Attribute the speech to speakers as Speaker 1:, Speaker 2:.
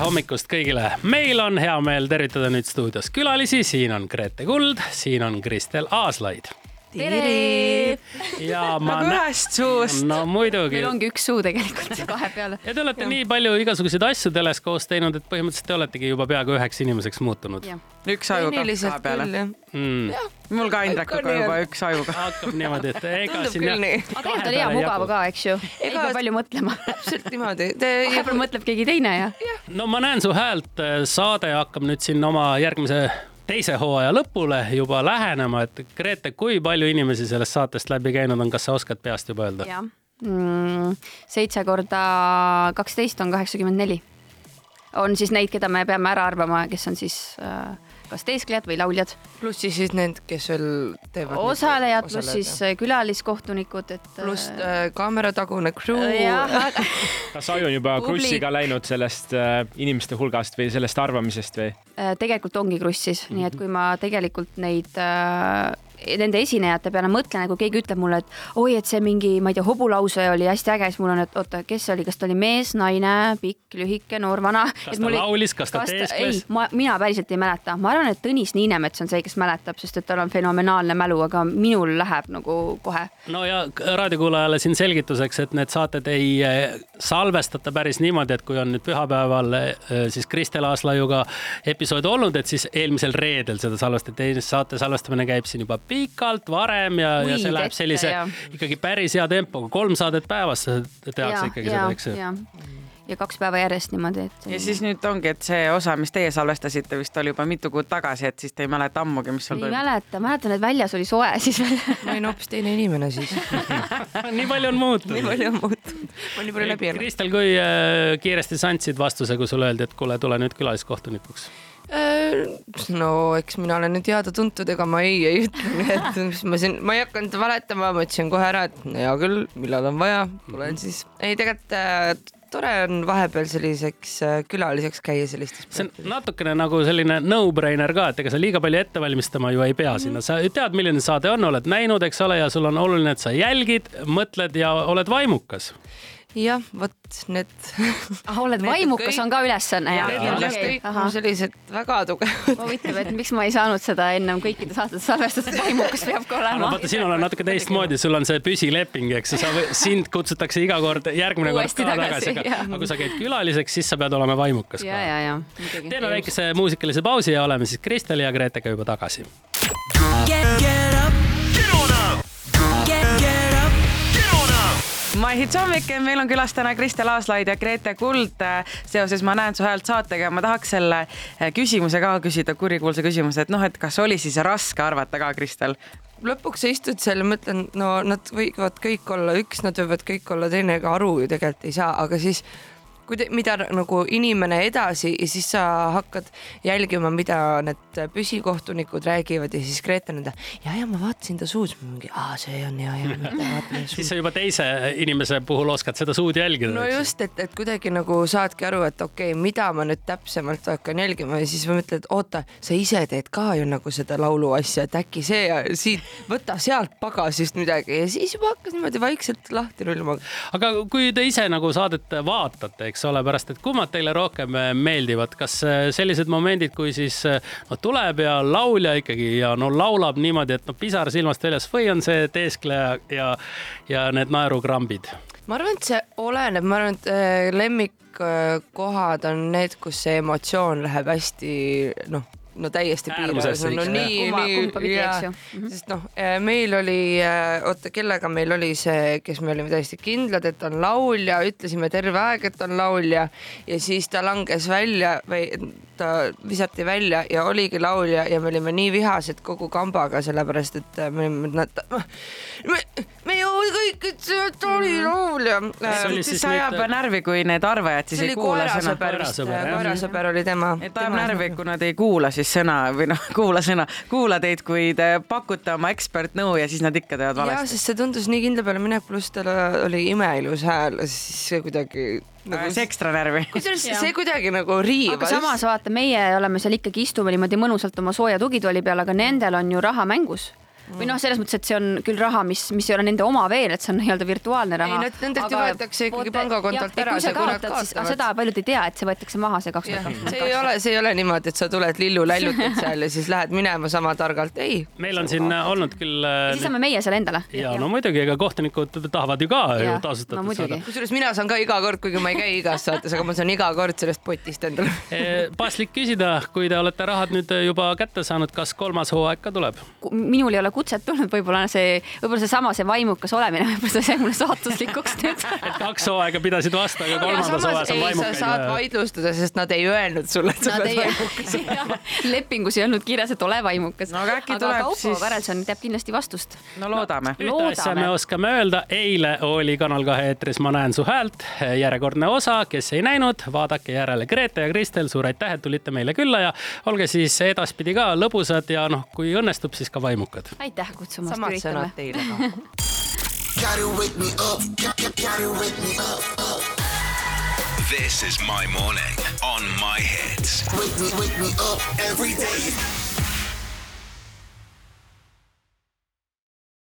Speaker 1: hommikust kõigile. meil on hea meel tervitada nüüd stuudios külalisi, siin on Grete Kuld, siin on Kristel Aaslaid
Speaker 2: tere!
Speaker 1: ja ma
Speaker 3: nagu ühest suust .
Speaker 1: no muidugi
Speaker 2: meil ongi üks suu tegelikult vahepeal .
Speaker 1: ja te olete ja. nii palju igasuguseid asju teles koos teinud, et põhimõtteliselt te oletegi juba peaaegu üheks inimeseks muutunud.
Speaker 3: üks aju kaks ka peale .
Speaker 1: Mm.
Speaker 3: mul ka Indrekuga
Speaker 4: nii on.
Speaker 3: juba üks aju kaks .
Speaker 1: hakkab niimoodi , et ega
Speaker 3: tundub
Speaker 1: siin
Speaker 3: küll nii .
Speaker 2: aga tegelikult oli hea mugav ka , eks ju . ei
Speaker 3: Ega-
Speaker 2: pea palju mõtlema .
Speaker 3: täpselt niimoodi . Te
Speaker 2: vahepeal mõtleb keegi teine ja .
Speaker 1: no ma näen su häält , saade hakkab nüüd siin oma järgmise teise hooaja lõpule juba lähenema , et Grete , kui palju inimesi sellest saatest läbi käinud on , kas sa oskad peast juba öelda ?
Speaker 2: jah . Mm, seitse korda kaksteist on kaheksakümmend neli . on siis neid , keda me peame ära arvama , kes on siis äh, kas teesklejad või lauljad ,
Speaker 4: pluss siis siis need , kes veel teevad .
Speaker 2: osalejad pluss siis . äh, külaliskohtunikud , et .
Speaker 4: pluss äh, kaameratagune crew .
Speaker 2: jah ,
Speaker 5: kas Aju on juba
Speaker 2: Publik-
Speaker 5: krussiga läinud sellest äh, inimeste hulgast või sellest arvamisest või ?
Speaker 2: Äh,
Speaker 5: Mhm.
Speaker 2: tegelikult ongi krussis , nii et kui ma tegelikult neid äh, nende esinejate peale mõtlen , kui keegi ütleb mulle , et oi , et see mingi , ma ei tea , hobulause oli hästi äge , siis mul on , et oota , kes see oli , kas ta oli mees , naine , pikk , lühike , noor , vana .
Speaker 1: kas ta laulis , kas ta
Speaker 2: ei
Speaker 1: teeskles ?,
Speaker 2: ma , mina päriselt ei mäleta , ma arvan , et Tõnis Niinemets on see , kes mäletab , sest et tal on fenomenaalne mälu , aga minul läheb nagu kohe .
Speaker 1: no ja k- raadiokuulajale siin selgituseks , et need saated ei eh, salvestata päris niimoodi , et kui on nüüd pühapäeval eh, siis Kristel Aaslaiuga episood olnud , et siis eelmisel reedel seda salvestati , teine saate salvestamine käib siin juba pikalt varem ja , ja see
Speaker 2: Kuid
Speaker 1: läheb
Speaker 2: ette,
Speaker 1: sellise
Speaker 2: jah.
Speaker 1: ikkagi päris hea tempoga , kolm saadet päevas tehakse ikkagi seda , eks ju .
Speaker 2: ju . ja kaks päeva järjest niimoodi , et .
Speaker 3: ja siis nüüd ongi , et see osa , mis teie salvestasite , vist oli juba mitu kuud tagasi , et siis te ei mäleta ammugi , mis seal
Speaker 2: ei
Speaker 3: toimub .
Speaker 2: mäleta , mäletan , et väljas oli soe siis veel
Speaker 4: ma olin hoopis teine inimene siis .
Speaker 1: nii palju on muutunud
Speaker 4: nii palju on muutunud . ma olin nii palju läbi elanud .
Speaker 1: Kristel , kui eh, kiiresti sa andsid vastuse , kui sulle öeldi , et kuule , tule nüüd külaliskohtunikuks ?
Speaker 4: Äh, no eks mina olen nüüd teada-tuntud , ega ma ei , ei ütle , et mis ma siin , ma ei hakanud valetama , ma ütlesin kohe ära , et no hea küll , millal on vaja ,
Speaker 3: Mhm.
Speaker 4: tulen siis . ei , tegelikult äh, tore on vahepeal selliseks äh, külaliseks käia sellistes .
Speaker 1: see on natukene nagu selline no-brainer ka , et ega sa liiga palju ette valmistama ju ei pea sinna , sa ju tead , milline saade on , oled näinud , eks ole , ja sul on oluline , et sa jälgid , mõtled ja oled vaimukas .
Speaker 4: jah , vot need
Speaker 2: ah, . oled
Speaker 4: Need
Speaker 2: vaimukas
Speaker 4: kõik-
Speaker 2: on ka ülesanne ja,
Speaker 4: Need on just
Speaker 2: okei,
Speaker 4: kõik mu
Speaker 2: ahah.
Speaker 4: sellised väga tugevad .
Speaker 2: huvitav , et miks ma ei saanud seda ennem kõikide saadete salvestust , et vaimukas peab ka
Speaker 1: no
Speaker 2: olema .
Speaker 1: vaata , sinul on natuke teistmoodi , sul on see püsileping , eks ju , sa või, , sind kutsutakse iga kord , järgmine kord
Speaker 2: Uuesti
Speaker 1: ka
Speaker 2: tagasi,
Speaker 1: tagasi , aga
Speaker 2: jah. ,
Speaker 1: aga kui sa käid külaliseks , siis sa pead olema vaimukas
Speaker 2: ja ,
Speaker 1: ka .
Speaker 2: ja , ja .
Speaker 1: teeme väikese muusikalise pausi ja oleme siis Kristel ja Gretega juba tagasi .
Speaker 3: My Hits hommik , meil on külas täna Kristel Aaslaid ja Grete Kuld . seoses Ma näen su häält saatega ma tahaks selle äh, küsimuse ka küsida , kurikuulsa küsimuse , et noh , et kas oli siis raske arvata ka , Kristel ?
Speaker 4: lõpuks sa istud seal ja mõtled , no nad võivad kõik olla üks , nad võivad kõik olla teine , ega aru ju tegelikult ei saa , aga siis kui te, mida nagu inimene edasi ja siis sa hakkad jälgima , mida need püsikohtunikud räägivad ja siis Grete nende ja , ja ma vaatasin ta suus , mingi , aa , see on ja , ja ma vaatan
Speaker 1: siis
Speaker 4: suus .
Speaker 1: sa juba teise inimese puhul oskad seda suud jälgida .
Speaker 4: no just , et , et kuidagi nagu saadki aru , et okei okay, , mida ma nüüd täpsemalt hakkan jälgima ja siis mõtled , oota , sa ise teed ka ju nagu seda laulu asja , et äkki see ja siit , võta sealt pagasist midagi ja siis juba hakkas niimoodi vaikselt lahti rullima .
Speaker 1: aga kui te ise nagu saadet vaatate , eks ole , pärast , et kummad teile rohkem äh, meeldivad , kas äh, sellised momendid , kui siis äh, no tuleb ja laulja ikkagi ja no laulab niimoodi , et no pisar silmast väljas või on see teeskleja ja , ja need naerukrambid ?
Speaker 4: ma arvan , et see oleneb , ma arvan , et äh, lemmikkohad on need , kus see emotsioon läheb hästi noh , no täiesti
Speaker 1: Äärmusesse
Speaker 4: piiresse , no
Speaker 1: ikka,
Speaker 4: nii ,
Speaker 2: jah. Kumba-
Speaker 4: nii
Speaker 2: kumbapidi, eks ju.
Speaker 4: jaa. sest noh , meil oli , oota , kellega meil oli see , kes me olime täiesti kindlad , et on laulja , ütlesime terve aeg , et on laulja ja siis ta langes välja või ta visati välja ja oligi laulja ja me olime nii vihased kogu kambaga , sellepärast et äh, me olime , nad , me, me ju kõik ütlesime , et oli laulja .
Speaker 1: See oli siis
Speaker 3: siis ajab
Speaker 1: nüüd-
Speaker 3: närvi , kui need arvajad siis
Speaker 4: see
Speaker 3: ei
Speaker 4: oli
Speaker 3: kuula sõna .
Speaker 4: koerasõber vist ,
Speaker 1: Koerasõber, jah.
Speaker 4: koerasõber oli tema .
Speaker 3: et ajab närvi , kui nad ei kuula siis sõna või noh , kuula sõna , kuula teid , kui te pakute oma ekspertnõu ja siis nad ikka teevad
Speaker 4: jaa ,
Speaker 3: valesti .
Speaker 4: sest see tundus nii kindla peale minek , pluss tal oli imeilus hääl , siis see kuidagi nagu
Speaker 3: ajas ekstra närvi .
Speaker 4: kusjuures see kuidagi nagu
Speaker 2: aga
Speaker 4: riivas .
Speaker 2: samas vaata , meie oleme seal ikkagi istume niimoodi mõnusalt oma sooja tugitooli peal , aga nendel on ju raha mängus . või noh , selles mõttes , et see on küll raha , mis , mis ei ole nende oma veel , et see on nii-öelda virtuaalne raha .
Speaker 4: nad- nendelt ju võetakse ikkagi pangakontolt ära
Speaker 2: see ,
Speaker 4: see, kui nad kaotavad.
Speaker 2: seda paljud ei tea , et see võetakse maha , see kaks tuhat
Speaker 4: see
Speaker 2: kakskümmend
Speaker 4: ei ole , see ei ole niimoodi , et sa tuled lillu lällutad seal ja siis lähed minema sama targalt , ei .
Speaker 1: meil on siin äh, olnud küll .
Speaker 2: siis saame meie selle endale .
Speaker 1: ja no muidugi , ega kohtunikud tahavad ju ka ju
Speaker 2: Jah,
Speaker 1: tasustatud
Speaker 2: no muidugi.
Speaker 4: kusjuures mina saan ka iga kord , kuigi ma ei käi igas saates , aga ma saan iga kord sellest potist endale .
Speaker 1: saada . Eh, paslik küsida , kui te olete rahad nüüd äh, juba kätte saanud , kas kolmas hooaeg ka tuleb ?
Speaker 2: Ku- minul ei ole kutset tulnud , võib-olla on see , võib-olla seesama , see vaimukas olemine , võib-olla see sai mulle saatuslikuks nüüd .
Speaker 1: et kaks hooaega pidasid vastu , aga kolmandas hooajas
Speaker 4: ei , sa
Speaker 1: on
Speaker 4: saad
Speaker 1: vaimukaid . äh,
Speaker 4: vaidlustada , sest nad ei öelnud sulle , et sa
Speaker 2: Nad
Speaker 4: pead
Speaker 2: ei
Speaker 4: vaidlustama .,
Speaker 2: lepingus ei olnud kirjas , et ole vaimukas .
Speaker 3: No aga äkki tuleb
Speaker 2: Kaupo
Speaker 3: siis-
Speaker 2: Pärelson teab kindlasti vastust .
Speaker 3: no loodame .
Speaker 1: ühte asja me
Speaker 2: Loodame.
Speaker 1: oskame öelda , eile oli Kanal kahe eetris Ma näen su häält , järjekordne osa , kes ei näinud , vaadake järele Grete ja Kristel , suur aitäh , et tulite meile külla ja olge siis edaspidi ka lõbusad ja noh , kui õnnestub , siis ka vaimukad .
Speaker 2: aitäh kutsumast ,
Speaker 4: samad
Speaker 2: üritame
Speaker 4: sõnad . teile ka .
Speaker 6: Gotta wake me up. Gotta wake me up. up.
Speaker 7: This is my morning on my hits.
Speaker 6: Wake me, wake me up every day.